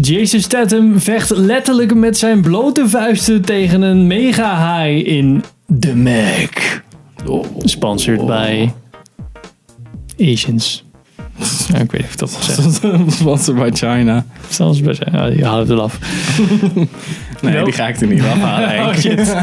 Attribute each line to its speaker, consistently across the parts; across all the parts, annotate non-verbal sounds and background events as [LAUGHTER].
Speaker 1: Jason Statham vecht letterlijk met zijn blote vuisten tegen een mega high in The Mac. Sponsored by Asians. Ja, ik weet niet of ik [LAUGHS] dat mag zeggen.
Speaker 2: Sponsor bij China.
Speaker 1: Zelfs best. Ja, die halen het wel af.
Speaker 2: Nee,
Speaker 1: Nope.
Speaker 2: die ga ik er niet afhalen. Henk.
Speaker 1: [LAUGHS] Oh, shit.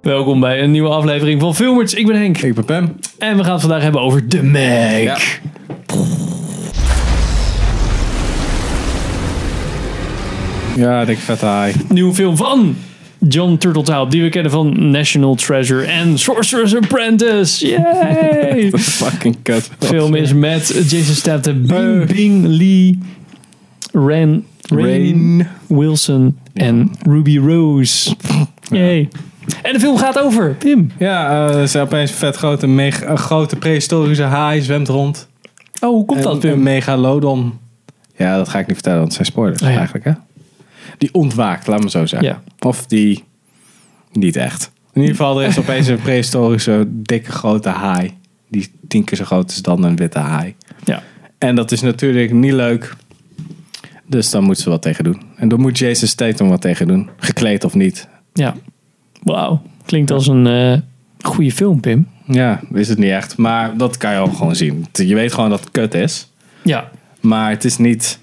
Speaker 1: Welkom bij een nieuwe aflevering van Filmers. Ik ben Henk.
Speaker 2: Ik ben Pam.
Speaker 1: En we gaan het vandaag hebben over de Mac.
Speaker 2: Ja. Ja, dik vet high.
Speaker 1: Nieuwe film van John Turteltaub, die we kennen van National Treasure en Sorcerer's Apprentice. Yay!
Speaker 2: [LAUGHS] [LAUGHS] Dat is fucking kut.
Speaker 1: film is met Jason Statham, Bing Bing Lee, Ren, Rain
Speaker 2: Rain.
Speaker 1: Wilson en Ruby Rose. Yay. En de film gaat over Tim.
Speaker 2: Ja, eh, er is opeens een vet grote, mega, een grote prehistorische haai zwemt rond.
Speaker 1: Oh, hoe komt
Speaker 2: Een-
Speaker 1: dat,
Speaker 2: Een
Speaker 1: Pim?
Speaker 2: megalodon. Ja, dat ga ik niet vertellen, want het zijn spoilers
Speaker 1: Oh ja.
Speaker 2: eigenlijk, hè? Die ontwaakt, laat me zo zeggen.
Speaker 1: Ja.
Speaker 2: Of die niet echt. In ieder geval, er is opeens een prehistorische, dikke, grote haai. Die tien keer zo groot is dan een witte haai.
Speaker 1: ja.
Speaker 2: En dat is natuurlijk niet leuk. Dus dan moet ze wat tegen doen. En dan moet Jason Statham wat tegen doen. Gekleed of niet.
Speaker 1: Ja. Wauw. Klinkt als een eh, goede film, Pim.
Speaker 2: Ja, is het niet echt. Maar dat kan je ook gewoon zien. Je weet gewoon dat het kut is.
Speaker 1: Ja.
Speaker 2: Maar het is niet.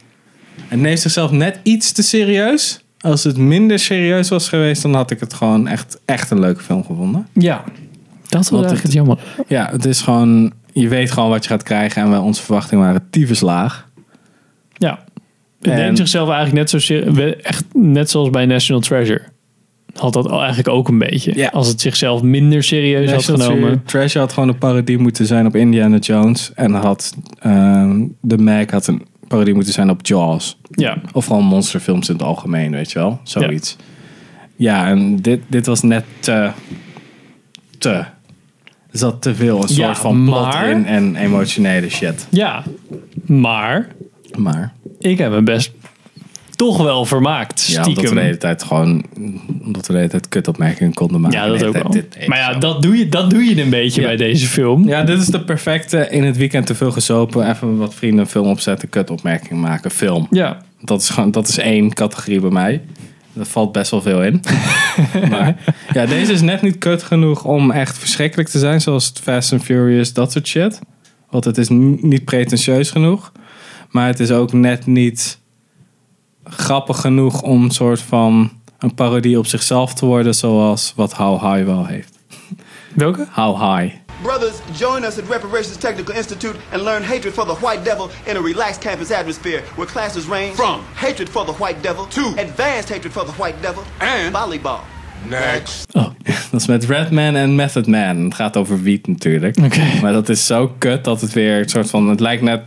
Speaker 2: Het neemt zichzelf net iets te serieus. Als het minder serieus was geweest, dan had ik het gewoon echt, echt een leuke film gevonden.
Speaker 1: Ja. Dat was
Speaker 2: Want
Speaker 1: eigenlijk
Speaker 2: het-
Speaker 1: het jammer.
Speaker 2: Ja, het is gewoon. Je weet gewoon wat je gaat krijgen. En wij- onze verwachtingen waren tyfus laag.
Speaker 1: Ja.
Speaker 2: En-
Speaker 1: Het neemt zichzelf eigenlijk net, zo, ser- we- echt net zoals bij National Treasure. Had dat al eigenlijk ook een beetje.
Speaker 2: Ja.
Speaker 1: Als het zichzelf minder serieus
Speaker 2: National
Speaker 1: had genomen.
Speaker 2: Treasure had gewoon een parodie moeten zijn op Indiana Jones. En had. ehm, de Mac had een parodie moeten zijn op Jaws.
Speaker 1: Ja.
Speaker 2: Of gewoon monsterfilms in het algemeen, weet je wel. Zoiets. Ja, en dit, dit was net te... Te. Er zat te veel een soort
Speaker 1: Ja,
Speaker 2: van plot
Speaker 1: maar-
Speaker 2: in en emotionele shit.
Speaker 1: Ja. Maar
Speaker 2: Maar...
Speaker 1: ik heb me best toch wel vermaakt.
Speaker 2: Ja, omdat we
Speaker 1: Stiekem.
Speaker 2: de hele tijd gewoon... Omdat we de hele tijd kutopmerkingen konden maken.
Speaker 1: Ja,
Speaker 2: De
Speaker 1: dat
Speaker 2: hele
Speaker 1: ook
Speaker 2: tijd
Speaker 1: wel.
Speaker 2: dit, dit,
Speaker 1: Maar ja,
Speaker 2: zo.
Speaker 1: dat doe je, dat doe je een beetje
Speaker 2: Ja.
Speaker 1: bij deze film.
Speaker 2: Ja, dit is de perfecte in het weekend te veel gezopen. Even wat vrienden een film opzetten, kutopmerking maken, film.
Speaker 1: ja.
Speaker 2: Dat is, gewoon, dat is één categorie bij mij. Daar valt best wel veel in. maar ja, deze is net niet kut genoeg om echt verschrikkelijk te zijn. Zoals het Fast and Furious, dat soort shit. Want het is ni- niet pretentieus genoeg. Maar het is ook net niet grappig genoeg om een soort van een parodie op zichzelf te worden. Zoals wat How High wel heeft.
Speaker 1: Welke?
Speaker 2: How High.
Speaker 3: Brothers, join us at Reparations Technical Institute and learn hatred for the white devil in a relaxed campus atmosphere where classes range from hatred for the white devil to advanced hatred for the white devil and volleyball.
Speaker 2: Dat is met Redman en Method Man. Het gaat over wiet natuurlijk.
Speaker 1: Oké.
Speaker 2: Maar dat is zo kut dat het weer een soort van... Het lijkt net...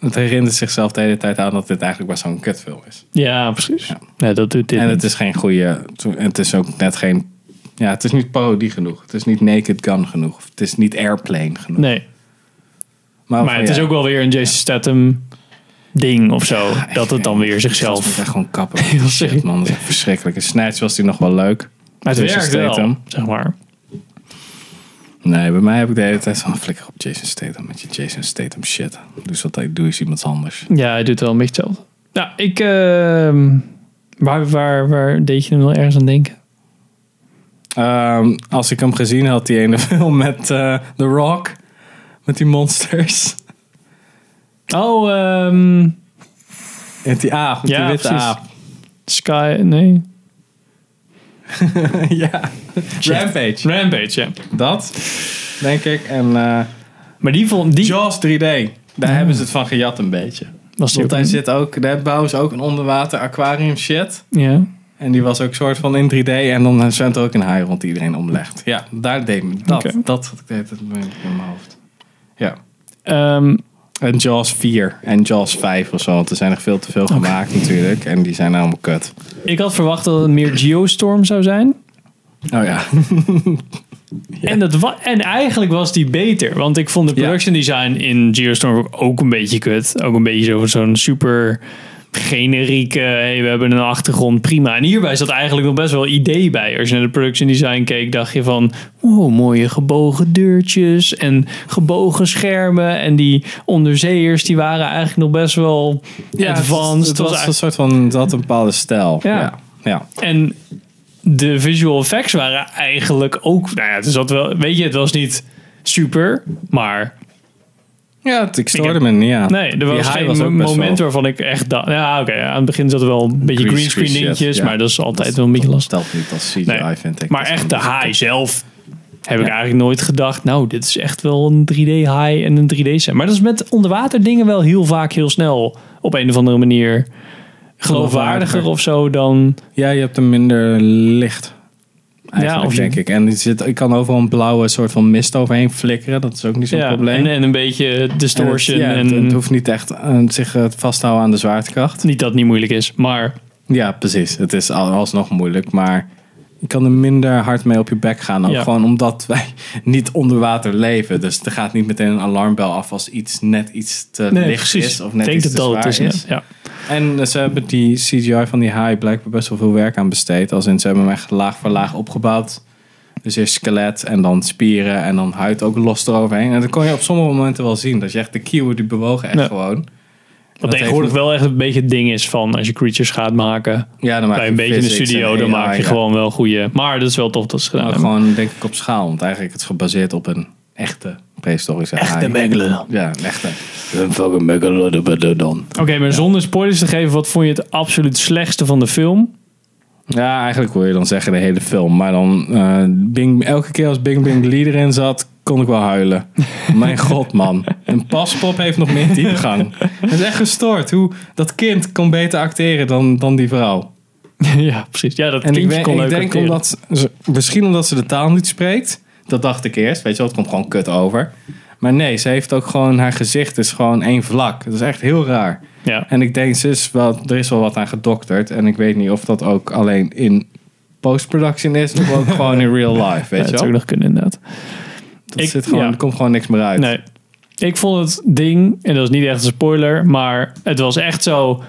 Speaker 2: Het herinnert zichzelf de hele tijd aan dat dit eigenlijk best wel een kutfilm is.
Speaker 1: Ja, precies. Nee, dat doet dit
Speaker 2: En
Speaker 1: niet.
Speaker 2: het is geen goede... En het is ook net geen... Ja, het is niet parodie genoeg. Het is niet Naked Gun genoeg. Of Het is niet Airplane genoeg.
Speaker 1: Nee. Maar
Speaker 2: van,
Speaker 1: het is
Speaker 2: Oh, ja,
Speaker 1: ook wel weer een Jason Statham ding of zo. dat het dan weer
Speaker 2: gast moet
Speaker 1: zichzelf...
Speaker 2: echt
Speaker 1: [LAUGHS]
Speaker 2: gewoon kappen. Heel
Speaker 1: sick.
Speaker 2: shit, man. Dat is echt verschrikkelijk. In Snatch was die nog wel leuk.
Speaker 1: Maar het
Speaker 2: Jason
Speaker 1: werkt wel,
Speaker 2: Statham.
Speaker 1: zeg maar.
Speaker 2: Nee, bij mij heb ik de hele tijd van flikker op Jason Statham. Met je Jason Statham shit. Dus wat ik doe is iemand anders.
Speaker 1: Ja, hij doet wel een beetje hetzelfde. Nou, ik... ehm, waar, waar, waar deed je hem wel ergens aan denken?
Speaker 2: Ehm, als ik hem gezien had, die ene [LAUGHS] film met eh, The Rock. Met die monsters.
Speaker 1: Oh, ehm,
Speaker 2: Met die aap, met
Speaker 1: Ja,
Speaker 2: die witte
Speaker 1: precies.
Speaker 2: aap.
Speaker 1: Sky... Nee.
Speaker 2: [LAUGHS] ja. Rampage.
Speaker 1: Rampage, ja.
Speaker 2: Dat, denk ik. En eh
Speaker 1: Maar die vond... Die
Speaker 2: Jaws 3D. Daar hebben ze het van gejat een beetje.
Speaker 1: was die
Speaker 2: Want
Speaker 1: ook
Speaker 2: daar
Speaker 1: een-
Speaker 2: zit ook, daar bouwen ze ook een onderwater aquarium shit.
Speaker 1: Ja.
Speaker 2: En die was ook soort van in 3D. En dan zwemt er ook een haai rond die iedereen omlegt. Ja, daar deed me dat.
Speaker 1: Oké.
Speaker 2: Dat had ik de hele tijd in mijn hoofd. Ja.
Speaker 1: Ehm,
Speaker 2: En Jaws 4 en Jaws 5 of zo. Want er zijn er veel te veel gemaakt natuurlijk. En die zijn allemaal kut.
Speaker 1: ik had verwacht dat het meer Geostorm zou zijn.
Speaker 2: Oh [LAUGHS] ja.
Speaker 1: [LAUGHS] En, dat wa- en eigenlijk was die beter. Want ik vond de
Speaker 2: Ja.
Speaker 1: production design in Geostorm ook een beetje kut. Ook een beetje zo- zo'n super generieke, hey, we hebben een achtergrond, prima. En hierbij zat eigenlijk nog best wel idee bij. Als je naar de production design keek, dacht je van, wow, mooie gebogen deurtjes en gebogen schermen. En die onderzeeërs, die waren eigenlijk nog best wel advanced.
Speaker 2: het, was, een soort van, dat had een bepaalde stijl.
Speaker 1: Ja.
Speaker 2: ja. ja.
Speaker 1: En de visual effects waren eigenlijk ook. Nou ja, het zat wel. Weet je, het was niet super, maar
Speaker 2: Ja, het- ik
Speaker 1: Ik
Speaker 2: stoorde
Speaker 1: heb-
Speaker 2: me niet aan.
Speaker 1: nee, er
Speaker 2: Die
Speaker 1: was
Speaker 2: high
Speaker 1: geen
Speaker 2: ook best
Speaker 1: moment
Speaker 2: wel-
Speaker 1: waarvan ik echt dacht. Ja, oké, aan het begin zat er wel een beetje
Speaker 2: Green
Speaker 1: greenscreen
Speaker 2: screen shit,
Speaker 1: dingetjes,
Speaker 2: ja.
Speaker 1: maar dat is altijd wel een beetje
Speaker 2: Dat
Speaker 1: lastig.
Speaker 2: stelt niet als CGI,
Speaker 1: Nee,
Speaker 2: vind ik.
Speaker 1: Maar
Speaker 2: Dat is
Speaker 1: echt de
Speaker 2: dan-
Speaker 1: high zelf heb ik eigenlijk nooit gedacht. Nou, dit is echt wel een 3D high en een 3D set. Maar dat is met onderwater dingen wel heel vaak heel snel op een of andere manier geloofwaardiger of zo dan.
Speaker 2: Ja, je hebt een minder licht. Eigenlijk,
Speaker 1: Ja, of je-
Speaker 2: denk ik. En die zit, ik kan overal een blauwe soort van mist overheen flikkeren. Dat is ook niet zo'n
Speaker 1: Ja,
Speaker 2: probleem.
Speaker 1: en, en een beetje
Speaker 2: En het-
Speaker 1: distortion.
Speaker 2: ja,
Speaker 1: en,
Speaker 2: het, het hoeft niet echt eh, zich eh, vast te houden aan de zwaartekracht.
Speaker 1: Niet dat het niet moeilijk is, maar
Speaker 2: Ja, precies. Het is al- alsnog moeilijk, maar je kan er minder hard mee op je bek gaan. Ook
Speaker 1: Ja.
Speaker 2: gewoon omdat [LAUGHS] wij niet onder water leven. Dus er gaat niet meteen een alarmbel af als iets net iets te licht is of net
Speaker 1: Ik denk dat
Speaker 2: iets te
Speaker 1: dat
Speaker 2: zwaar
Speaker 1: het
Speaker 2: is.
Speaker 1: is. ja. Ja.
Speaker 2: En eh, ze hebben die CGI van die haai blijkbaar best wel veel werk aan besteed. Als in, ze hebben hem echt laag voor laag opgebouwd. Dus eerst skelet en dan spieren en dan huid ook los eroverheen. En dat kon je op sommige momenten wel zien. Dat je echt de kieuwen die bewogen echt
Speaker 1: Ja.
Speaker 2: gewoon.
Speaker 1: Wat
Speaker 2: Dat
Speaker 1: tegenwoordig
Speaker 2: heeft-
Speaker 1: wel echt een beetje het ding is van als je creatures gaat maken.
Speaker 2: Ja, dan maak
Speaker 1: bij
Speaker 2: je
Speaker 1: een beetje in de
Speaker 2: physics
Speaker 1: studio,
Speaker 2: en
Speaker 1: dan maak
Speaker 2: AI,
Speaker 1: je
Speaker 2: ja.
Speaker 1: gewoon eh, wel goede. Maar dat is wel tof dat ze gedaan
Speaker 2: Maar
Speaker 1: hebben.
Speaker 2: gewoon denk ik op schaal. Want eigenlijk het is gebaseerd op een echte prehistorische haai.
Speaker 1: megalodon.
Speaker 2: Ja, een echte. Een fucking megalodon.
Speaker 1: Oké, maar zonder spoilers te geven, wat vond je het absoluut slechtste van de
Speaker 2: [LAUGHS]
Speaker 1: film?
Speaker 2: Ja, eigenlijk wil je dan zeggen de hele film. Maar dan, eh, Bing, elke keer als Bing Bing Lee erin zat, kon ik wel
Speaker 1: [LAUGHS]
Speaker 2: huilen. Mijn god, man. Een paspop heeft nog meer diepgang. Het is echt gestoord. Hoe, dat kind kon beter acteren dan, dan die vrouw.
Speaker 1: ja, precies. Ja, dat
Speaker 2: En ik,
Speaker 1: kindje
Speaker 2: ben-
Speaker 1: kon
Speaker 2: ik
Speaker 1: leuk
Speaker 2: denk
Speaker 1: acteren.
Speaker 2: omdat, ze- misschien omdat ze de taal niet spreekt. Dat dacht ik eerst. Weet je wel, het komt gewoon kut over. Maar nee, ze heeft ook gewoon, haar gezicht is gewoon één vlak. Dat is echt heel raar.
Speaker 1: Ja.
Speaker 2: En ik denk, ze is wel, er is wel wat aan gedokterd. En ik weet niet of dat ook alleen in post-production is. Of [LAUGHS] ook gewoon in real life,
Speaker 1: Ja,
Speaker 2: weet
Speaker 1: dat
Speaker 2: je
Speaker 1: zou
Speaker 2: wel.
Speaker 1: ook nog kunnen inderdaad.
Speaker 2: Dat
Speaker 1: ik-
Speaker 2: zit gewoon,
Speaker 1: ja.
Speaker 2: Er komt gewoon niks meer uit.
Speaker 1: Nee. Ik vond het ding, en dat is niet echt een spoiler, maar het was echt zo.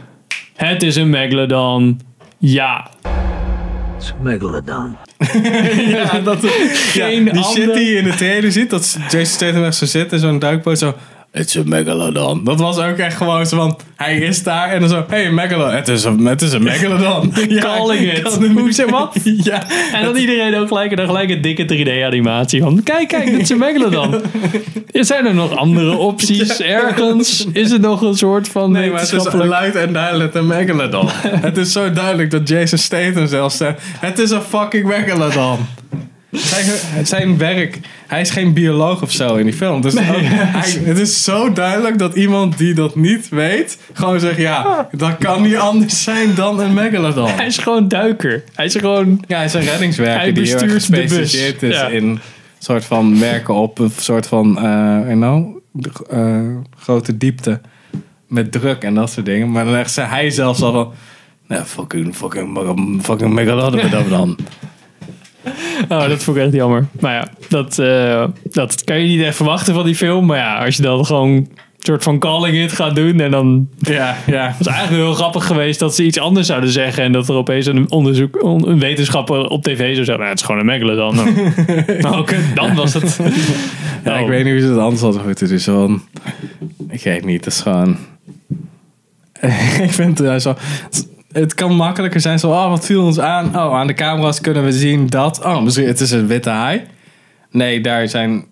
Speaker 1: Het is een Megalodon. Ja.
Speaker 4: Megalodon.
Speaker 2: Ja, dat,
Speaker 1: Geen
Speaker 2: die
Speaker 1: ander-
Speaker 2: shit die je in de trailer ziet. [LAUGHS] Dat Jason Statham echt zo zit in zo'n duikboot. Zo, it's a megalodon. Dat was ook echt gewoon zo van, hij is daar. En dan zo, hey megalodon. Het is een, het is een megalodon.
Speaker 1: [LAUGHS] Calling it.
Speaker 2: Hoe zeg wat? [LAUGHS] ja.
Speaker 1: En dan iedereen ook gelijk, en dan gelijk een dikke 3D-animatie van... Kijk, kijk, dit is een
Speaker 2: [LAUGHS]
Speaker 1: Megalodon. Zijn er nog andere opties ergens? Is het nog een soort van
Speaker 2: Nee, maar het is
Speaker 1: wetenschappelijk...
Speaker 2: luid en duidelijk een [LAUGHS] megalodon. het is zo duidelijk dat Jason Statham zelfs zegt... Het is een fucking megalodon. Zijn, zijn werk... Hij is geen bioloog of zo in die film. Dus ook- hij- het is zo duidelijk dat iemand die dat niet weet... gewoon zegt, ja, dat kan niet anders zijn dan een megalodon.
Speaker 1: Hij is gewoon duiker. Hij is gewoon...
Speaker 2: Ja, hij is een reddingswerker
Speaker 1: Hij
Speaker 2: die heel erg
Speaker 1: bestuurt de bus.
Speaker 2: gespecialiseerd is
Speaker 1: Ja.
Speaker 2: in... soort van werken op een soort van... eh you know, de- eh, grote diepte met druk en dat soort dingen. Maar dan echt zei hij zelfs al van... Nou, fucking, fucking, fucking, fucking megalodon dat
Speaker 1: [LAUGHS]
Speaker 2: dan.
Speaker 1: Oh, dat vond ik echt jammer. Maar ja, dat, eh, dat kan je niet echt verwachten van die film. Maar ja, als je dan gewoon een soort van calling it gaat doen... en dan
Speaker 2: ja, ja.
Speaker 1: Het is eigenlijk heel grappig geweest dat ze iets anders zouden zeggen. En dat er opeens een onderzoek, on- een wetenschapper op tv zou zeggen. Nou, het is gewoon een
Speaker 2: [LAUGHS]
Speaker 1: megalodon. dan. Oké, dan was het.
Speaker 2: ja
Speaker 1: Oh.
Speaker 2: ik weet niet hoe ze het anders hadden moeten doen. Zo van, ik weet niet, dat is gewoon... [LAUGHS] ik vind het juist zo... Het kan makkelijker zijn zo, oh, wat viel ons aan? Oh, aan de camera's kunnen we zien dat... Oh, misschien het is een witte haai. Nee, daar zijn...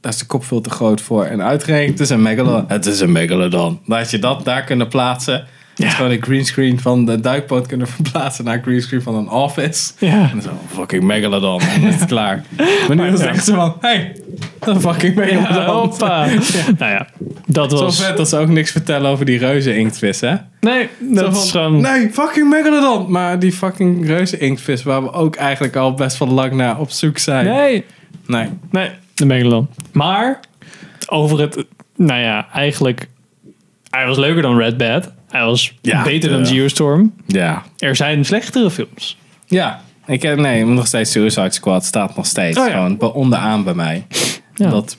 Speaker 2: Daar is de kop veel te groot voor. En uitgerekend, het is een megalodon. Het is een megalodon. Dan had je dat daar kunnen plaatsen. Ja.
Speaker 1: Ja.
Speaker 2: Gewoon de greenscreen van de duikboot kunnen [LAUGHS] verplaatsen naar een greenscreen van een office.
Speaker 1: Ja.
Speaker 2: En zo, fucking
Speaker 1: [LAUGHS]
Speaker 2: megalodon. En dan is het klaar. Maar nu was het
Speaker 1: ja.
Speaker 2: echt zo van, hey, een fucking [LAUGHS]
Speaker 1: Ja,
Speaker 2: megalodon.
Speaker 1: hoppa. Nou ja, dat
Speaker 2: zo
Speaker 1: was...
Speaker 2: vet dat ze ook niks vertellen over die reuze inktvis, hè?
Speaker 1: Nee, dat
Speaker 2: Zo
Speaker 1: is
Speaker 2: van,
Speaker 1: gewoon...
Speaker 2: Nee, fucking megalodon. Maar die fucking reuze inktvis, waar we ook eigenlijk al best wel lang naar op zoek zijn.
Speaker 1: Nee,
Speaker 2: Nee.
Speaker 1: nee, de megalodon. Maar, over het... Nou ja, eigenlijk... Hij was leuker dan Red Bad. Hij was
Speaker 2: Ja,
Speaker 1: beter dan
Speaker 2: ja.
Speaker 1: Geostorm.
Speaker 2: Ja.
Speaker 1: Er zijn slechtere films.
Speaker 2: Ja. Ik heb, nee, nog steeds Suicide Squad staat nog steeds
Speaker 1: Oh ja.
Speaker 2: gewoon be- onderaan bij mij.
Speaker 1: Ja.
Speaker 2: Dat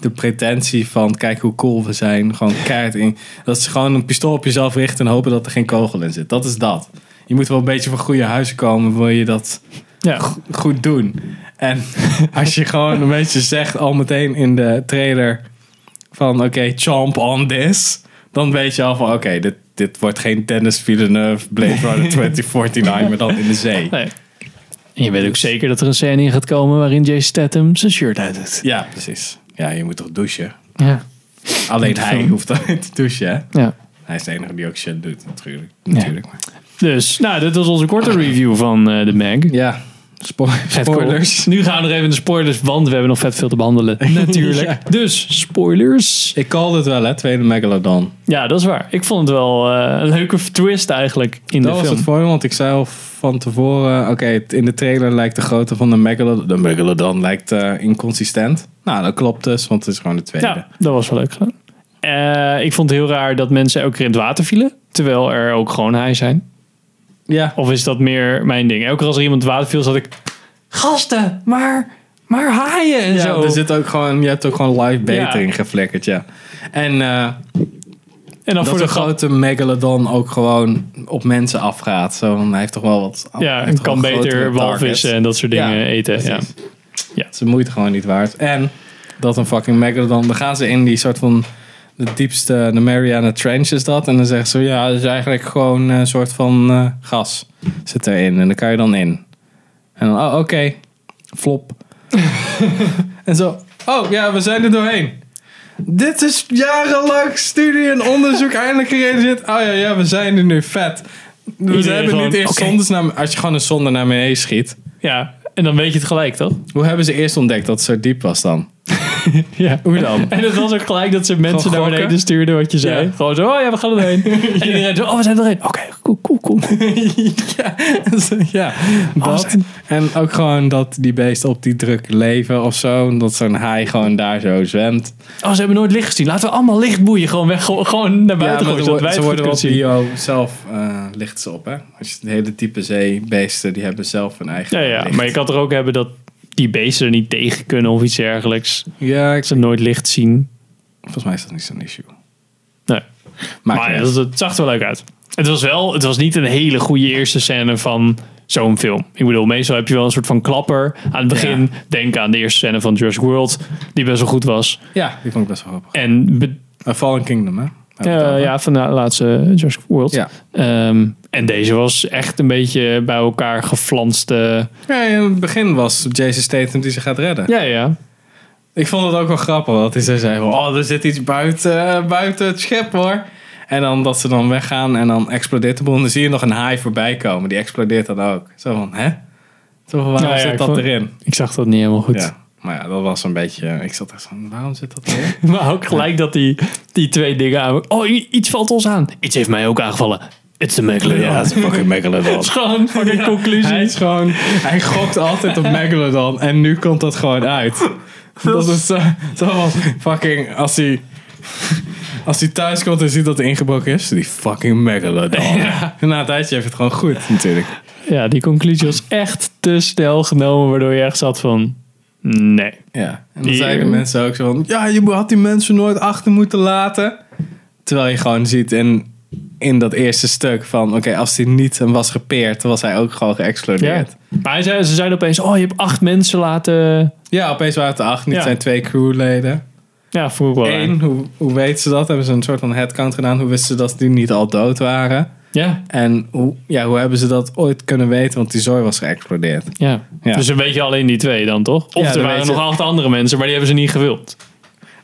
Speaker 2: de pretentie van kijk hoe cool we zijn, gewoon keihard in. Dat is gewoon een pistool op jezelf richten en hopen dat er geen kogel in zit. Dat is dat. Je moet wel een beetje van goede huizen komen, wil je dat
Speaker 1: Ja.
Speaker 2: goed doen. En [LAUGHS] als je gewoon een beetje zegt al meteen in de trailer van oké, chomp on this. Dan weet je al van oké, dit, dit wordt geen Dennis Villeneuve Blade
Speaker 1: [LAUGHS]
Speaker 2: Runner 2049, maar dan in de zee.
Speaker 1: Nee. En je weet ook zeker dat er een scène in gaat komen waarin Jay Statham zijn shirt uit doet.
Speaker 2: [LAUGHS] Ja, precies. Ja, je moet toch douchen?
Speaker 1: Ja.
Speaker 2: Alleen hij hoeft alleen te douchen, hè?
Speaker 1: ja.
Speaker 2: Hij is de enige die ook shit doet, natuurlijk. natuurlijk. maar-
Speaker 1: Dus, nou, dit was onze
Speaker 2: [CLEARS THROAT]
Speaker 1: korte review van eh, de Meg.
Speaker 2: Ja, [LAUGHS] spo-
Speaker 1: Vet cool. [LAUGHS]
Speaker 2: spoilers.
Speaker 1: Nu gaan we nog even in de spoilers, want we hebben nog vet veel te behandelen.
Speaker 2: [LAUGHS]
Speaker 1: Natuurlijk.
Speaker 2: Ja.
Speaker 1: Dus, spoilers.
Speaker 2: Ik call het wel, hè? Tweede Megalodon.
Speaker 1: Ja, dat is waar. Ik vond het wel eh, een leuke twist eigenlijk in de
Speaker 2: Dat was
Speaker 1: film.
Speaker 2: het voor me, want ik zei al van tevoren... Oké, het- in de trailer lijkt de grootte van de Megalodon... De Megalodon lijkt eh, inconsistent. Nou, dat klopt dus, want het is gewoon de tweede.
Speaker 1: Ja, dat was wel leuk gedaan. Eh, ik vond het heel raar dat mensen elke keer in het water vielen, terwijl er ook gewoon hij zijn.
Speaker 2: Ja.
Speaker 1: Of is dat meer mijn ding? Elke keer als er iemand in het water viel, zat ik... Gasten, maar, maar haaien en
Speaker 2: Ja, dus
Speaker 1: zo.
Speaker 2: er zit ook gewoon, je hebt ook gewoon live beter
Speaker 1: Ja.
Speaker 2: in geflikkerd, ja. En eh,
Speaker 1: en dan
Speaker 2: dat
Speaker 1: voor
Speaker 2: de
Speaker 1: de grap.
Speaker 2: grote megalodon ook gewoon op mensen afgaat. Zo, want hij heeft toch wel wat... hij
Speaker 1: Ja,
Speaker 2: heeft
Speaker 1: en
Speaker 2: toch
Speaker 1: kan
Speaker 2: wel grotere
Speaker 1: beter
Speaker 2: targets.
Speaker 1: walvissen en dat soort dingen
Speaker 2: Ja,
Speaker 1: eten. Ja.
Speaker 2: precies.
Speaker 1: Ja.
Speaker 2: Het is de moeite gewoon niet waard. En dat een fucking megalodon. Dan gaan ze in die soort van... De diepste, de Mariana Trench is dat. En dan zeggen ze, ja, dat is eigenlijk gewoon een soort van eh, gas zit erin. En dan kan je dan in. En dan, oh, oké. Flop. [LAUGHS] en zo, oh ja, we zijn er doorheen. Dit is jarenlang studie en onderzoek [LAUGHS] eindelijk gerealiseerd. Oh ja, ja, we zijn er nu, vet. We
Speaker 1: Iedereen
Speaker 2: hebben
Speaker 1: gewoon,
Speaker 2: niet eerst
Speaker 1: oké.
Speaker 2: zondes naar... Als je gewoon een zonde naar beneden schiet.
Speaker 1: ja, en dan weet je het gelijk, toch?
Speaker 2: Hoe hebben ze eerst ontdekt dat het zo diep was dan? [LAUGHS]
Speaker 1: [LAUGHS] Ja.
Speaker 2: Hoe dan?
Speaker 1: En het was ook gelijk dat ze mensen naar
Speaker 2: gokken?
Speaker 1: beneden stuurden wat je zei.
Speaker 2: Ja.
Speaker 1: Gewoon zo, oh ja, we gaan erheen.
Speaker 2: [LAUGHS]
Speaker 1: En iedereen zo, oh, we zijn erheen. Oké, cool, cool, cool.
Speaker 2: ja,
Speaker 1: Alles
Speaker 2: dat.
Speaker 1: in.
Speaker 2: En ook gewoon dat die beesten op die druk leven of zo. en Dat zo'n haai gewoon daar zo zwemt.
Speaker 1: Oh, ze hebben nooit licht gezien. Laten we allemaal lichtboeien gewoon weg, gewoon- gewoon naar buiten
Speaker 2: maar
Speaker 1: gooien,
Speaker 2: ze
Speaker 1: zodat wij
Speaker 2: ze
Speaker 1: het goed
Speaker 2: worden
Speaker 1: kunnen
Speaker 2: wel
Speaker 1: zien.
Speaker 2: bio zelf eh, licht ze op, hè? Als je de hele type zeebeesten, die hebben zelf hun eigen
Speaker 1: Ja, ja,
Speaker 2: licht.
Speaker 1: maar je kan er ook hebben dat die beesten er niet tegen kunnen of iets dergelijks.
Speaker 2: Ja, ik-
Speaker 1: Dat ze nooit licht zien.
Speaker 2: volgens mij is dat niet zo'n issue.
Speaker 1: Nee.
Speaker 2: Maakt
Speaker 1: Maar
Speaker 2: niet
Speaker 1: ja,
Speaker 2: uit.
Speaker 1: dat, het zag er wel leuk uit. Het was wel, het was niet een hele goede eerste scène van zo'n film. Ik bedoel, meestal heb je wel een soort van klapper aan het begin. Denk aan de eerste scène van Jurassic World, die best wel goed was.
Speaker 2: ja, die vond ik best wel grappig.
Speaker 1: En be-
Speaker 2: Uh, Fallen Kingdom, hè? Hebben we het
Speaker 1: Eh,
Speaker 2: over.
Speaker 1: ja, van de laatste Jurassic World.
Speaker 2: Ja.
Speaker 1: Ehm, en deze was echt een beetje bij elkaar geflanste.
Speaker 2: Ja, in het begin was Jason Statham die ze gaat redden.
Speaker 1: Ja, ja.
Speaker 2: Ik vond het ook wel grappig dat hij zo zei van, oh, er zit iets buiten, eh, buiten het schip hoor. En dan dat ze dan weggaan en dan explodeert de boel. En dan zie je nog een haai voorbij komen. Die explodeert dan ook. Zo van, hè? Zo van, waarom
Speaker 1: Nou Ja, ja, ik
Speaker 2: zit dat
Speaker 1: vond-
Speaker 2: erin?
Speaker 1: Ik zag dat niet helemaal goed.
Speaker 2: Ja. Maar ja, dat was een beetje... eh, Ik zat echt van, waarom zit dat erin?
Speaker 1: [LAUGHS] Maar ook gelijk dat die, die twee dingen aan. Oh, i- iets valt ons aan. Iets heeft mij ook aangevallen. It's the Megalodon.
Speaker 2: dat is fucking Megalodon.
Speaker 1: Dat is gewoon voor
Speaker 2: [LAUGHS]
Speaker 1: de conclusie.
Speaker 2: Hij is gewoon... Hij gokt altijd op Megalodon. En nu komt dat gewoon uit. Dat is zo, zo van, fucking... Als hij... Als hij thuis komt en ziet dat hij ingebroken is, die fucking megalodon. Na een tijdje heeft het gewoon goed, natuurlijk.
Speaker 1: Ja, die conclusie was echt te snel genomen, waardoor je echt zat van. Nee.
Speaker 2: Ja. En dan
Speaker 1: Die-
Speaker 2: zeiden mensen ook zo van, ja, je had die mensen nooit achter moeten laten. Terwijl je gewoon ziet in, in dat eerste stuk van, oké, als hij niet was gepeerd, dan was hij ook gewoon
Speaker 1: Ja.
Speaker 2: geëxplodeerd. Ja,
Speaker 1: Maar hij zei, ze zeiden opeens: Oh, je hebt acht mensen laten.
Speaker 2: opeens waren het er acht, niet
Speaker 1: Ja.
Speaker 2: zijn twee crewleden.
Speaker 1: Ja, vroeg ik wel. raar.
Speaker 2: Eén, hoe, hoe weten ze dat? Hebben ze een soort van headcount gedaan? Hoe wisten ze dat die niet al dood waren?
Speaker 1: Ja,
Speaker 2: En hoe, ja, hoe hebben ze dat ooit kunnen weten? Want die zooi was geëxplodeerd.
Speaker 1: Ja.
Speaker 2: Ja.
Speaker 1: Dus dan weet je alleen die twee dan, toch? Of
Speaker 2: Ja,
Speaker 1: er
Speaker 2: dan
Speaker 1: waren
Speaker 2: weet je-
Speaker 1: nog acht andere mensen, maar die hebben ze niet gewild.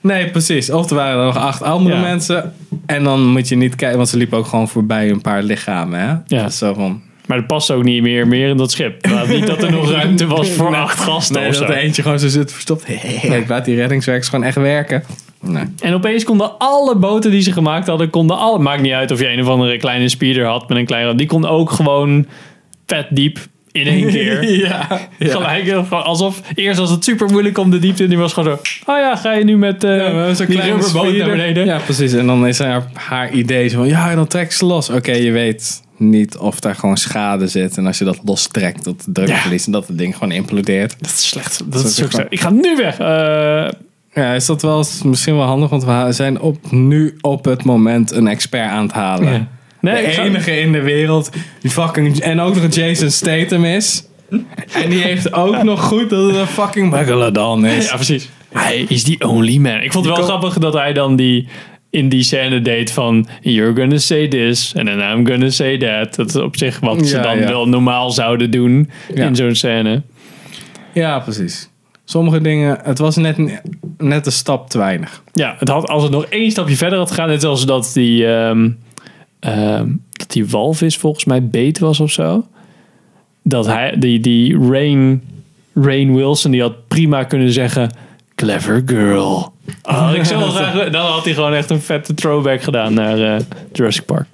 Speaker 2: Nee, precies. Of er waren er nog acht andere
Speaker 1: Ja.
Speaker 2: mensen. En dan moet je niet kijken, want ze liepen ook gewoon voorbij een paar lichamen. Hè?
Speaker 1: Ja.
Speaker 2: Dus Zo van,
Speaker 1: Maar dat past ook niet meer, meer in dat schip. Laat niet dat er
Speaker 2: [LAUGHS]
Speaker 1: nog ruimte was voor acht gasten
Speaker 2: nee,
Speaker 1: of
Speaker 2: dat
Speaker 1: zo.
Speaker 2: er eentje gewoon zo zit verstopt. [LAUGHS] Ik laat die reddingswerkers gewoon echt werken. Nee.
Speaker 1: En opeens konden alle boten die ze gemaakt hadden, konden alle... Maakt niet uit of je een of andere kleine speeder had met een klein... Die kon ook gewoon vet diep in één keer.
Speaker 2: [LAUGHS] Ja. ja.
Speaker 1: Gelijk, eh, gewoon alsof eerst was het super moeilijk om de diepte in. Die was gewoon zo. Oh ja, ga je nu met eh
Speaker 2: Zo'n
Speaker 1: die
Speaker 2: kleine
Speaker 1: rubberboot naar
Speaker 2: speeder.
Speaker 1: beneden?
Speaker 2: Ja, precies. En dan is haar, haar idee zo van, ja, dan trekt ze los. Oké, je weet niet of daar gewoon schade zit. En als je dat lostrekt, dat de druk
Speaker 1: Ja.
Speaker 2: verliest en dat het ding gewoon implodeert.
Speaker 1: Dat is slecht. Dat, is
Speaker 2: is echt
Speaker 1: slecht.
Speaker 2: waar.
Speaker 1: Ik ga nu weg. Eh,
Speaker 2: Ja, Ja, is dat wel eens misschien wel handig, want we ha- zijn op, nu op het moment een expert aan het halen.
Speaker 1: Ja. Nee, ik
Speaker 2: de
Speaker 1: ga-
Speaker 2: enige in de wereld die fucking. En ook nog een Jason Statham is. En die heeft ook nog goed dat het een fucking Megalodon is.
Speaker 1: Ja, precies. Hij is die only man. Ik vond het wel
Speaker 2: kan-
Speaker 1: grappig dat hij dan die in die scène deed van you're gonna say this and then I'm gonna say that. Dat is op zich wat ze
Speaker 2: Ja,
Speaker 1: dan
Speaker 2: ja.
Speaker 1: wel normaal zouden doen
Speaker 2: Ja.
Speaker 1: in zo'n scène.
Speaker 2: Ja, precies. Sommige dingen, het was net, een- net een stap te weinig.
Speaker 1: Ja, het had, als het nog één stapje verder had gegaan, net als dat die, ehm, ehm, dat die walvis volgens mij beet was of zo. Dat hij, die, die Rain, Rain Wilson, die had prima kunnen zeggen, clever girl. Ah, ik zou wel graag, dan had hij gewoon echt een vette throwback gedaan naar eh, Jurassic Park.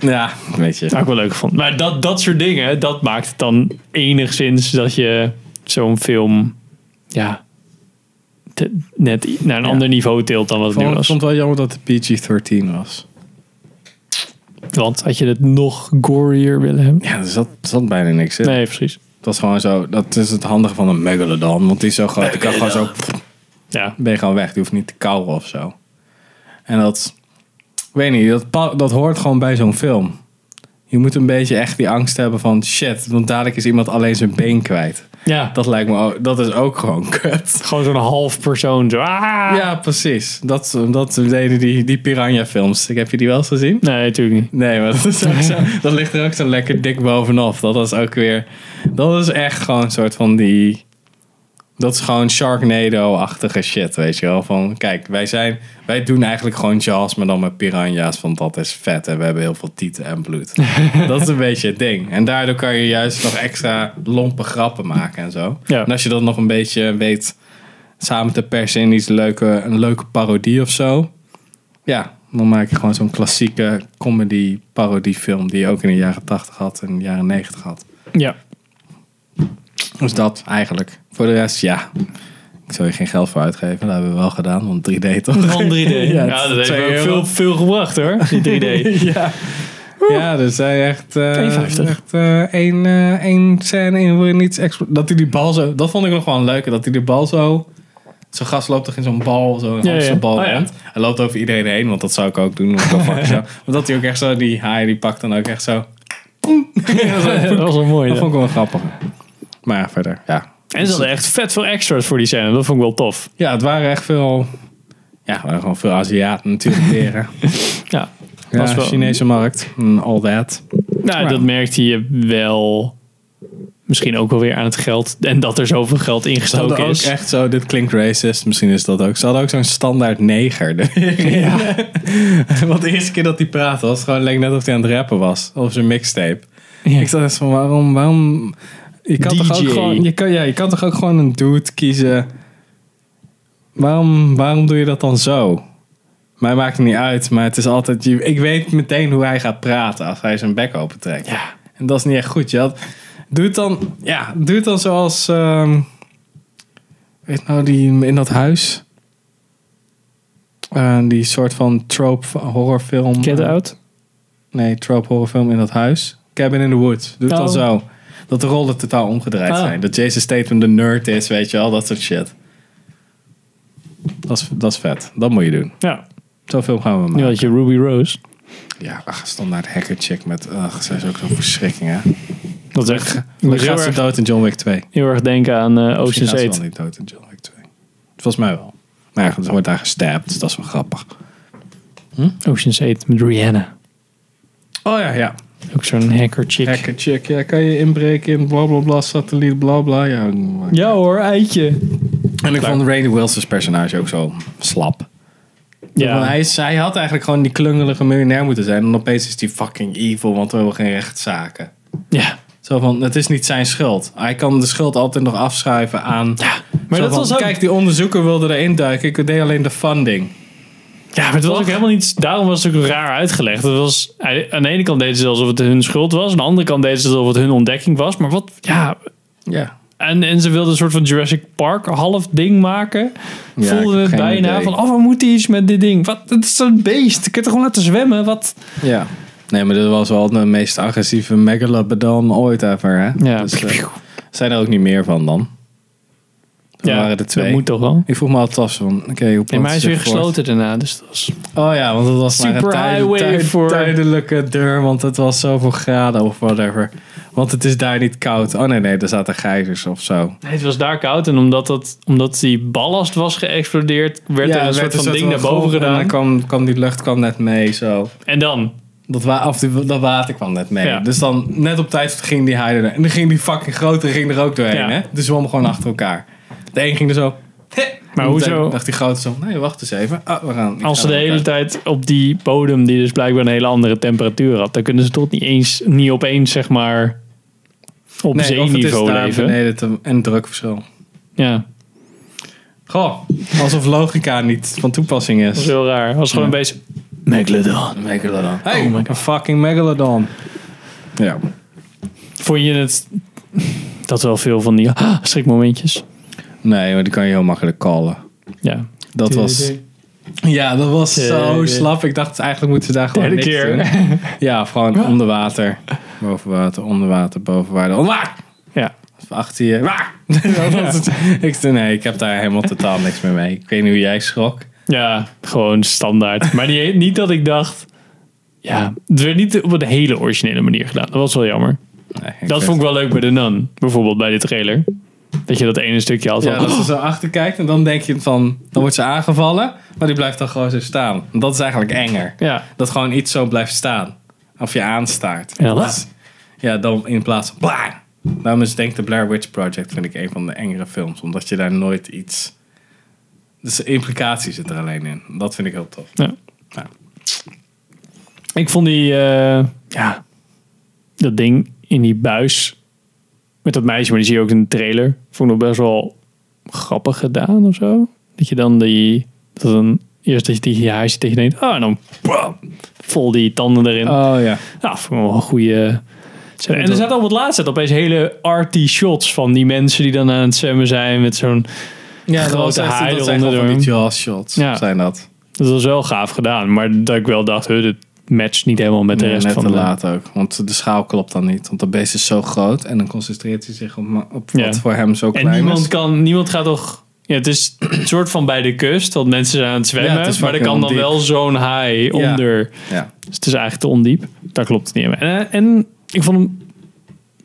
Speaker 2: Ja, weet je.
Speaker 1: Dat ik wel leuk vond. Maar dat, dat soort dingen, dat maakt het dan enigszins dat je zo'n film, ja, te- net naar een ander niveau tilt dan wat het
Speaker 2: Ik
Speaker 1: nu
Speaker 2: vond,
Speaker 1: was.
Speaker 2: vond wel jammer dat het PG-13 was.
Speaker 1: Want had je het nog gorier willen hebben?
Speaker 2: Ja, er zat, zat bijna niks in.
Speaker 1: Nee, precies.
Speaker 2: Dat is gewoon zo. Dat is het handige van een Megalodon. Want die is zo groot. Die kan gewoon zo.
Speaker 1: Ja,
Speaker 2: Ben je gewoon weg. Die hoeft niet te kauwen of zo. En dat. Ik weet niet. Dat, pa- dat hoort gewoon bij zo'n film. Je moet een beetje echt die angst hebben van shit. Want dadelijk is iemand alleen zijn been kwijt.
Speaker 1: ja.
Speaker 2: Dat lijkt me. ook- Dat is ook gewoon kut.
Speaker 1: gewoon zo'n half persoon. Zo, ah!
Speaker 2: Ja, precies. Dat, dat deden die, die piranha-films. Ik- Heb je die wel eens gezien?
Speaker 1: Nee, natuurlijk niet.
Speaker 2: Nee, maar dat, is ook zo, dat ligt er ook zo lekker dik bovenop. Dat is ook weer. Dat is echt gewoon een soort van die. Dat is gewoon Sharknado-achtige shit, weet je wel. Van kijk, wij zijn. Wij doen eigenlijk gewoon Jaws, maar dan met piranha's. Want dat is vet en we hebben heel veel tieten en bloed. dat is een beetje het ding. En daardoor kan je juist nog extra lompe grappen maken en zo.
Speaker 1: Ja.
Speaker 2: En als je dat nog een beetje weet samen te persen in iets leuke, een leuke parodie of zo. Ja, dan maak je gewoon zo'n klassieke comedy parodiefilm die je ook in de jaren 80 had en in de jaren 90 had.
Speaker 1: Ja.
Speaker 2: Dus dat eigenlijk. Voor de rest, ja. Ik zou je geen geld voor uitgeven. Dat hebben we wel gedaan, want 3D toch?
Speaker 1: Van 3D. [LAUGHS]
Speaker 2: [LAUGHS]
Speaker 1: Ja, dat
Speaker 2: het is
Speaker 1: heeft
Speaker 2: twee
Speaker 1: ook
Speaker 2: euro.
Speaker 1: veel, veel gebracht hoor, die 3D. [LAUGHS]
Speaker 2: ja. Ja, dus hij echt, eh
Speaker 1: 52.
Speaker 2: echt eh, één, eh, één scène in waarin niets explo- Dat hij die bal zo... Dat vond ik nog wel een leuke. Dat hij die bal zo... Zo'n gast loopt toch in zo'n bal, zo'n
Speaker 1: Ja, ja.
Speaker 2: hamsterbal
Speaker 1: Oh, ja.
Speaker 2: rond. Hij loopt over iedereen heen, want dat zou ik ook doen. Want
Speaker 1: [LAUGHS]
Speaker 2: ik wil fucking zo. Maar dat hij ook echt zo... Die haai die pakt dan ook echt zo...
Speaker 1: dat was wel mooi.
Speaker 2: Dat
Speaker 1: ja.
Speaker 2: vond ik wel grappig. Maar ja, verder, ja.
Speaker 1: En ze hadden echt vet veel extras voor die scène. Dat vond ik wel tof.
Speaker 2: Ja, het waren echt veel... Ja, het waren gewoon veel Aziaten [LAUGHS] natuurlijk. weer, hè.
Speaker 1: Ja,
Speaker 2: Ja,
Speaker 1: was wel-
Speaker 2: Chinese markt. en All that.
Speaker 1: nou, dat merkte je wel. Misschien ook wel weer aan het geld. En dat er zoveel geld
Speaker 2: Ze hadden
Speaker 1: ingestoken
Speaker 2: ook
Speaker 1: is.
Speaker 2: echt zo, dit klinkt racist, misschien is dat ook. Ze hadden ook zo'n standaard neger. [LAUGHS] er weer in. Want de eerste keer dat hij praatte was het gewoon leek net of hij aan het rappen was. Of zijn mixtape.
Speaker 1: Ja.
Speaker 2: Ik dacht echt van, waarom, waarom... Je kan, toch ook
Speaker 1: DJ.
Speaker 2: gewoon, je, kan, ja, je kan toch ook gewoon een dude kiezen. Waarom, waarom doe je dat dan zo? Mij maakt het niet uit, maar het is altijd... je- Ik weet meteen hoe hij gaat praten als hij zijn bek open trekt.
Speaker 1: Ja.
Speaker 2: En dat is niet echt goed. Je had, doe, het dan, ja, doe het dan zoals. ehm, weet nou, die in dat huis. Eh, die soort van trope horrorfilm. eh,
Speaker 1: Get out.
Speaker 2: Nee, trope horrorfilm in dat huis. Cabin in the Woods. Doe het dan
Speaker 1: Oh.
Speaker 2: zo. Dat de rollen totaal omgedraaid
Speaker 1: Ah.
Speaker 2: zijn. Dat Jason Statham de nerd is, weet je wel. Dat soort shit. Dat is, dat is vet. Dat moet je doen.
Speaker 1: Ja,
Speaker 2: Zo'n film gaan we maken.
Speaker 1: nu had je Ruby Rose.
Speaker 2: Ja, ach, standaard hacker chick met... Ach, zij is ook zo'n verschrikking, hè.
Speaker 1: Dat is echt. Ik
Speaker 2: Dan
Speaker 1: moest heel
Speaker 2: gaat ze
Speaker 1: erg,
Speaker 2: dood in John Wick 2.
Speaker 1: heel erg denken aan eh,
Speaker 2: Misschien
Speaker 1: Ocean's
Speaker 2: gaat ze
Speaker 1: 8.
Speaker 2: wel niet dood in John Wick 2. Volgens mij wel. Maar ja, ze wordt daar gestapt, dus dat is wel grappig.
Speaker 1: Ocean's 8 met Rihanna.
Speaker 2: Oh ja, ja.
Speaker 1: Ook zo'n hacker chick.
Speaker 2: Hacker chick, ja, kan je inbreken in blablabla, satelliet, blablabla. Ja.
Speaker 1: Ja hoor, eitje.
Speaker 2: En ik vond Rainy Wilson's personage ook zo slap. Want
Speaker 1: Ja,
Speaker 2: Hij, is, hij had eigenlijk gewoon die klungelige miljonair moeten zijn. En opeens is hij fucking evil, want we hebben geen rechtszaken.
Speaker 1: ja.
Speaker 2: Zo van, het is niet zijn schuld. Hij kan de schuld altijd nog afschuiven aan...
Speaker 1: maar
Speaker 2: Zo
Speaker 1: dat
Speaker 2: van,
Speaker 1: was ook-
Speaker 2: Kijk, die onderzoeker wilde erin duiken. Ik deed alleen de funding.
Speaker 1: ja, maar het was ook helemaal niet. Daarom was het ook raar uitgelegd. Het was, aan de ene kant deden ze alsof het hun schuld was, aan de andere kant deden ze alsof het hun ontdekking was. Maar wat, ja.
Speaker 2: Ja.
Speaker 1: En, en ze wilden een soort van Jurassic Park half ding maken.
Speaker 2: Ja, ik
Speaker 1: Voelden we
Speaker 2: heb
Speaker 1: het
Speaker 2: geen
Speaker 1: bijna
Speaker 2: idee.
Speaker 1: van, oh, we moeten iets met dit ding. Wat, het is zo'n beest. Ik kan toch gewoon laten zwemmen? Wat?
Speaker 2: Ja. Nee, maar dit was wel de meest agressieve megalodon ooit ever, hè?
Speaker 1: Ja.
Speaker 2: Dus, eh, zijn er ook niet meer van dan. Dat waren de twee.
Speaker 1: Dat moet toch wel?
Speaker 2: Ik vroeg me altijd af van, oké, hoe
Speaker 1: Nee,
Speaker 2: planten
Speaker 1: maar hij is
Speaker 2: ze
Speaker 1: weer
Speaker 2: voort?
Speaker 1: gesloten daarna. Dus dat was...
Speaker 2: Oh ja, want het was maar een
Speaker 1: Superhighway
Speaker 2: tij- tij-
Speaker 1: voor-
Speaker 2: tijdelijke deur, want het was zoveel graden of whatever. Want het is daar niet koud. Oh nee, nee, er zaten gijzers of zo.
Speaker 1: Nee, het was daar koud. En omdat, dat, omdat die ballast was geëxplodeerd, werd er een soort van ding naar boven
Speaker 2: En dan
Speaker 1: gedaan.
Speaker 2: kwam, kwam die lucht kwam net mee, zo.
Speaker 1: En dan?
Speaker 2: Dat, wa of die- dat water kwam net mee.
Speaker 1: Ja.
Speaker 2: Dus dan net op tijd ging die haai er. En dan ging die fucking grote ging er ook doorheen.
Speaker 1: Ja.
Speaker 2: Hè? De zwom gewoon achter elkaar. De een ging er zo.
Speaker 1: Maar
Speaker 2: En
Speaker 1: hoezo?
Speaker 2: meteen dacht die grote zo. Nee, wacht eens even. Ah, we gaan, ik
Speaker 1: Als ze
Speaker 2: ga
Speaker 1: de
Speaker 2: naar
Speaker 1: hele
Speaker 2: elkaar.
Speaker 1: tijd op die bodem, die dus blijkbaar een hele andere temperatuur had, dan kunnen ze toch niet eens, niet opeens, zeg maar, op
Speaker 2: nee, of het is
Speaker 1: zeeniveau
Speaker 2: daar
Speaker 1: leven.
Speaker 2: beneden te- een drukverschil.
Speaker 1: Ja,
Speaker 2: Goh, alsof logica niet van toepassing
Speaker 1: dat
Speaker 2: is.
Speaker 1: was heel raar. Dat was gewoon een beetje. Megalodon.
Speaker 2: Megalodon. Hey,
Speaker 1: Oh my God.
Speaker 2: een fucking megalodon. Ja.
Speaker 1: Vond je het. Dat wel veel van die ah, schrikmomentjes.
Speaker 2: Nee, maar die kan je heel makkelijk callen.
Speaker 1: Ja.
Speaker 2: Dat was... Ja, dat was zo
Speaker 1: Derde-
Speaker 2: slap. Ik dacht, eigenlijk moeten ze daar gewoon
Speaker 1: Derde
Speaker 2: niks
Speaker 1: keer.
Speaker 2: doen.
Speaker 1: [LAUGHS]
Speaker 2: Ja, of gewoon onder water. Boven water, onder water, boven water. Onder water!
Speaker 1: Ja.
Speaker 2: Of achter je. Waar? [LAUGHS] Dat was het. Ik zei, nee, ik heb daar helemaal totaal niks meer mee. Ik weet niet hoe jij schrok.
Speaker 1: Ja, gewoon standaard. Maar niet, niet dat ik dacht. Ja, het werd niet op een hele originele manier gedaan. Dat was wel jammer.
Speaker 2: Nee,
Speaker 1: Dat
Speaker 2: weet-
Speaker 1: vond ik wel leuk bij de Nun. Bijvoorbeeld bij de trailer. Dat je dat ene stukje had van...
Speaker 2: Ja, dat ze zo achter kijkt en dan denk je van, dan wordt ze aangevallen, maar die blijft dan gewoon zo staan. Dat is eigenlijk enger.
Speaker 1: Ja.
Speaker 2: Dat gewoon iets zo blijft staan. Of je aanstaart.
Speaker 1: Ja,
Speaker 2: Dat
Speaker 1: dat-
Speaker 2: is- ja dan in plaats van bang. Daarom is denk ik de Blair Witch Project vind ik een van de engere films. Omdat je daar nooit iets... Dus de implicatie zit er alleen in. Dat vind ik heel tof.
Speaker 1: Ja.
Speaker 2: Ja.
Speaker 1: Ik vond die... eh, ja. Dat ding in die buis. Met dat meisje, maar die zie je ook in de trailer. Vond ik nog best wel grappig gedaan of zo. Dat je dan die... Dat dan, eerst dat je tegen je huisje tegen denkt. Oh, en dan... bam, vol die tanden erin.
Speaker 2: Oh ja.
Speaker 1: Ja, vond ik wel een goede. En er zaten op het laatste opeens hele arty shots van die mensen die dan aan het zwemmen zijn met zo'n.
Speaker 2: ja
Speaker 1: Grote haai
Speaker 2: Dat zijn gewoon van
Speaker 1: eronder.
Speaker 2: die jaws shots.
Speaker 1: Ja.
Speaker 2: Zijn dat.
Speaker 1: Dat was wel gaaf gedaan, maar dat ik wel dacht, huh, dit matcht niet helemaal met de
Speaker 2: Nee,
Speaker 1: rest
Speaker 2: net
Speaker 1: van
Speaker 2: te
Speaker 1: de
Speaker 2: laat ook. Want de schaal klopt dan niet. Want dat beest is zo groot. En dan concentreert hij zich op, ma- op wat
Speaker 1: Ja.
Speaker 2: voor hem zo klein
Speaker 1: En niemand
Speaker 2: is.
Speaker 1: kan, niemand gaat toch. Ja, het is een soort van bij de kust, want mensen zijn aan het zwemmen,
Speaker 2: Ja, het is
Speaker 1: maar er
Speaker 2: fucking
Speaker 1: kan dan
Speaker 2: ondiep.
Speaker 1: wel zo'n haai
Speaker 2: Ja.
Speaker 1: onder.
Speaker 2: Ja.
Speaker 1: Dus het is eigenlijk te ondiep. Daar klopt het niet mee. En, eh, en ik vond hem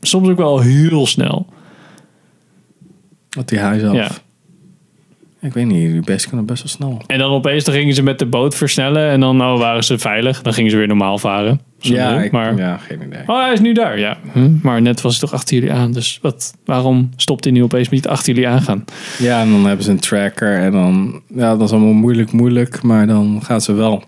Speaker 1: soms ook wel heel snel.
Speaker 2: Op die huis af.
Speaker 1: Ja.
Speaker 2: Ik weet niet, die beesten kunnen best wel snel.
Speaker 1: En dan opeens dan gingen ze met de boot versnellen en dan oh, waren ze veilig. Dan gingen ze weer normaal varen. Zo leuk,
Speaker 2: ik,
Speaker 1: maar
Speaker 2: ja, geen idee.
Speaker 1: Oh, hij is nu daar, ja. Hm, Maar net was hij toch achter jullie aan. Dus wat, waarom stopt hij nu opeens niet achter jullie aangaan?
Speaker 2: Ja, en dan hebben ze een tracker en dan... Ja, dat is allemaal moeilijk, moeilijk. Maar dan gaan ze wel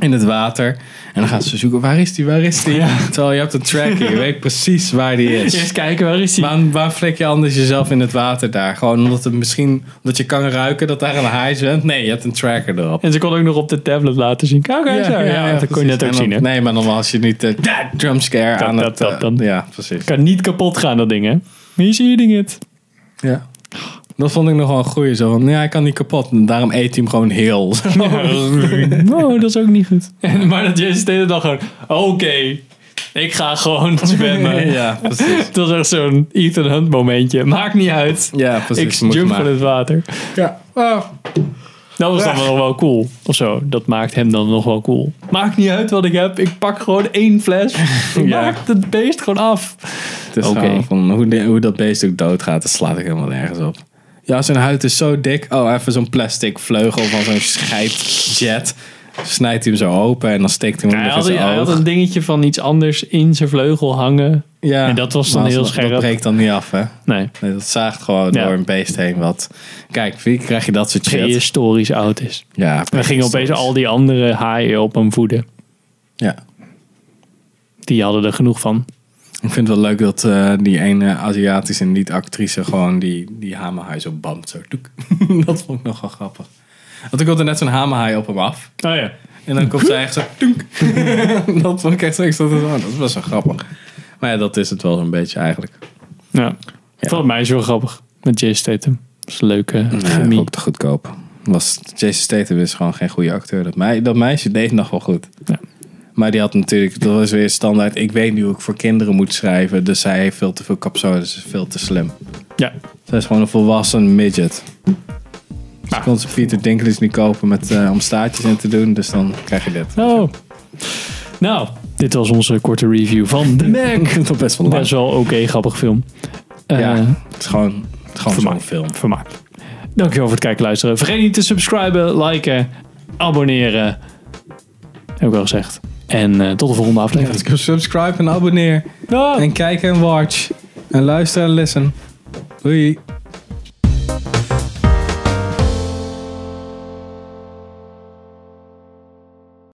Speaker 2: in het water. En dan gaan ze zoeken, waar is die, waar is die? Terwijl je hebt een tracker, je weet precies waar die
Speaker 1: [LAUGHS]
Speaker 2: is.
Speaker 1: Eerst kijken, waar is hij?
Speaker 2: Waarom, waarom flik je anders jezelf in het water daar? Gewoon omdat het misschien omdat je kan ruiken dat daar een haai zwemt? Nee, je hebt een tracker erop.
Speaker 1: En ze kon ook nog op de tablet laten zien. Kijk, hij is daar. Ja, dat kon je
Speaker 2: precies.
Speaker 1: net ook
Speaker 2: En dan-
Speaker 1: zien, hè?
Speaker 2: Nee, maar dan als je niet de jumpscare aan
Speaker 1: dat,
Speaker 2: het...
Speaker 1: dat,
Speaker 2: eh,
Speaker 1: dan.
Speaker 2: Ja, precies.
Speaker 1: Kan niet kapot gaan, dat ding, hè? He's eating it.
Speaker 2: Ja. Dat vond ik nog wel een goeie. Zo van, ja, hij kan niet kapot. En daarom eet hij hem gewoon
Speaker 1: [LAUGHS]
Speaker 2: heel.
Speaker 1: Oh, dat is ook niet goed. [LAUGHS] En, maar dat Jason Statham dan gewoon... Oké, ik ga [LAUGHS] gewoon zwemmen.
Speaker 2: ja, precies.
Speaker 1: Dat was echt zo'n Ethan Hunt momentje. Maakt niet uit.
Speaker 2: Ja, precies.
Speaker 1: Ik
Speaker 2: Moet je
Speaker 1: jump
Speaker 2: maar.
Speaker 1: van het water.
Speaker 2: Ja. Oh.
Speaker 1: Dat was dan
Speaker 2: Ja.
Speaker 1: wel, wel cool. Of zo. Dat maakt hem dan nog wel cool. Maakt niet uit wat ik heb. Ik pak gewoon één [LAUGHS] fles. Ik
Speaker 2: Ja.
Speaker 1: Maak het beest gewoon af.
Speaker 2: Het is
Speaker 1: Oké.
Speaker 2: gewoon van hoe, die- hoe dat beest ook doodgaat, dat slaat ik helemaal nergens op. Ja, zijn huid is zo dik. Oh, even zo'n plastic vleugel van zo'n scheidjet. Snijdt hij hem zo open en dan steekt hij hem
Speaker 1: Hij
Speaker 2: nog
Speaker 1: had,
Speaker 2: in zijn
Speaker 1: hij had
Speaker 2: oog.
Speaker 1: een dingetje van iets anders in zijn vleugel hangen.
Speaker 2: Ja,
Speaker 1: en dat was dan
Speaker 2: maar
Speaker 1: heel
Speaker 2: dat-
Speaker 1: scherp.
Speaker 2: Dat breekt dan niet af, hè?
Speaker 1: Nee.
Speaker 2: Nee, dat zaagt gewoon
Speaker 1: Ja.
Speaker 2: door een beest heen. Wat. Kijk, wie krijg je dat soort shit?
Speaker 1: Prehistorisch oud is.
Speaker 2: Ja,
Speaker 1: We gingen opeens al die andere haaien op hem voeden.
Speaker 2: Ja,
Speaker 1: Die hadden er genoeg van.
Speaker 2: Ik vind het wel leuk dat eh, die ene Aziatische niet-actrice gewoon die, die hamerhaai zo bamt. Zo. [LAUGHS] Toek. dat vond ik nogal grappig. Want ik had er net zo'n hamerhaai op hem af.
Speaker 1: Oh ja.
Speaker 2: En dan komt zij echt zo. toek. [LAUGHS] dat vond ik echt zo. Ik zat er zo aan. Dat is best wel grappig. Maar ja, dat is het wel zo'n beetje eigenlijk.
Speaker 1: ja. Volgens mij is het wel grappig. Met Jason Statham. Dat is een leuke
Speaker 2: Nee,
Speaker 1: chemie.
Speaker 2: ook te goedkoop. Was, Jason Statham is gewoon geen goede acteur. Dat, mei, dat meisje deed nog wel goed.
Speaker 1: Ja.
Speaker 2: Maar die had natuurlijk, dat was weer standaard. dus Ik weet nu hoe ik voor kinderen moet schrijven. Dus zij heeft veel te veel capsules. Veel te slim.
Speaker 1: ja.
Speaker 2: Zij is gewoon een volwassen midget. Ze kon ze Peter Dinklage niet kopen met, eh, om staartjes in te doen, dus dan krijg je dit.
Speaker 1: Oh. Nou, dit was onze korte review van The
Speaker 2: Ik [LAUGHS]
Speaker 1: Mac.
Speaker 2: vind het toch best wel lang.
Speaker 1: Best wel oké, grappig film. Eh,
Speaker 2: ja, het is gewoon, het is gewoon zo'n film.
Speaker 1: Vermaak. Dankjewel voor het kijken en luisteren. Vergeet niet te subscriben, liken, abonneren. Heb ik al gezegd. En eh, tot de volgende
Speaker 2: dus
Speaker 1: aflevering.
Speaker 2: Subscribe en abonneer.
Speaker 1: Ah.
Speaker 2: En kijk en watch. En luister en listen. Doei.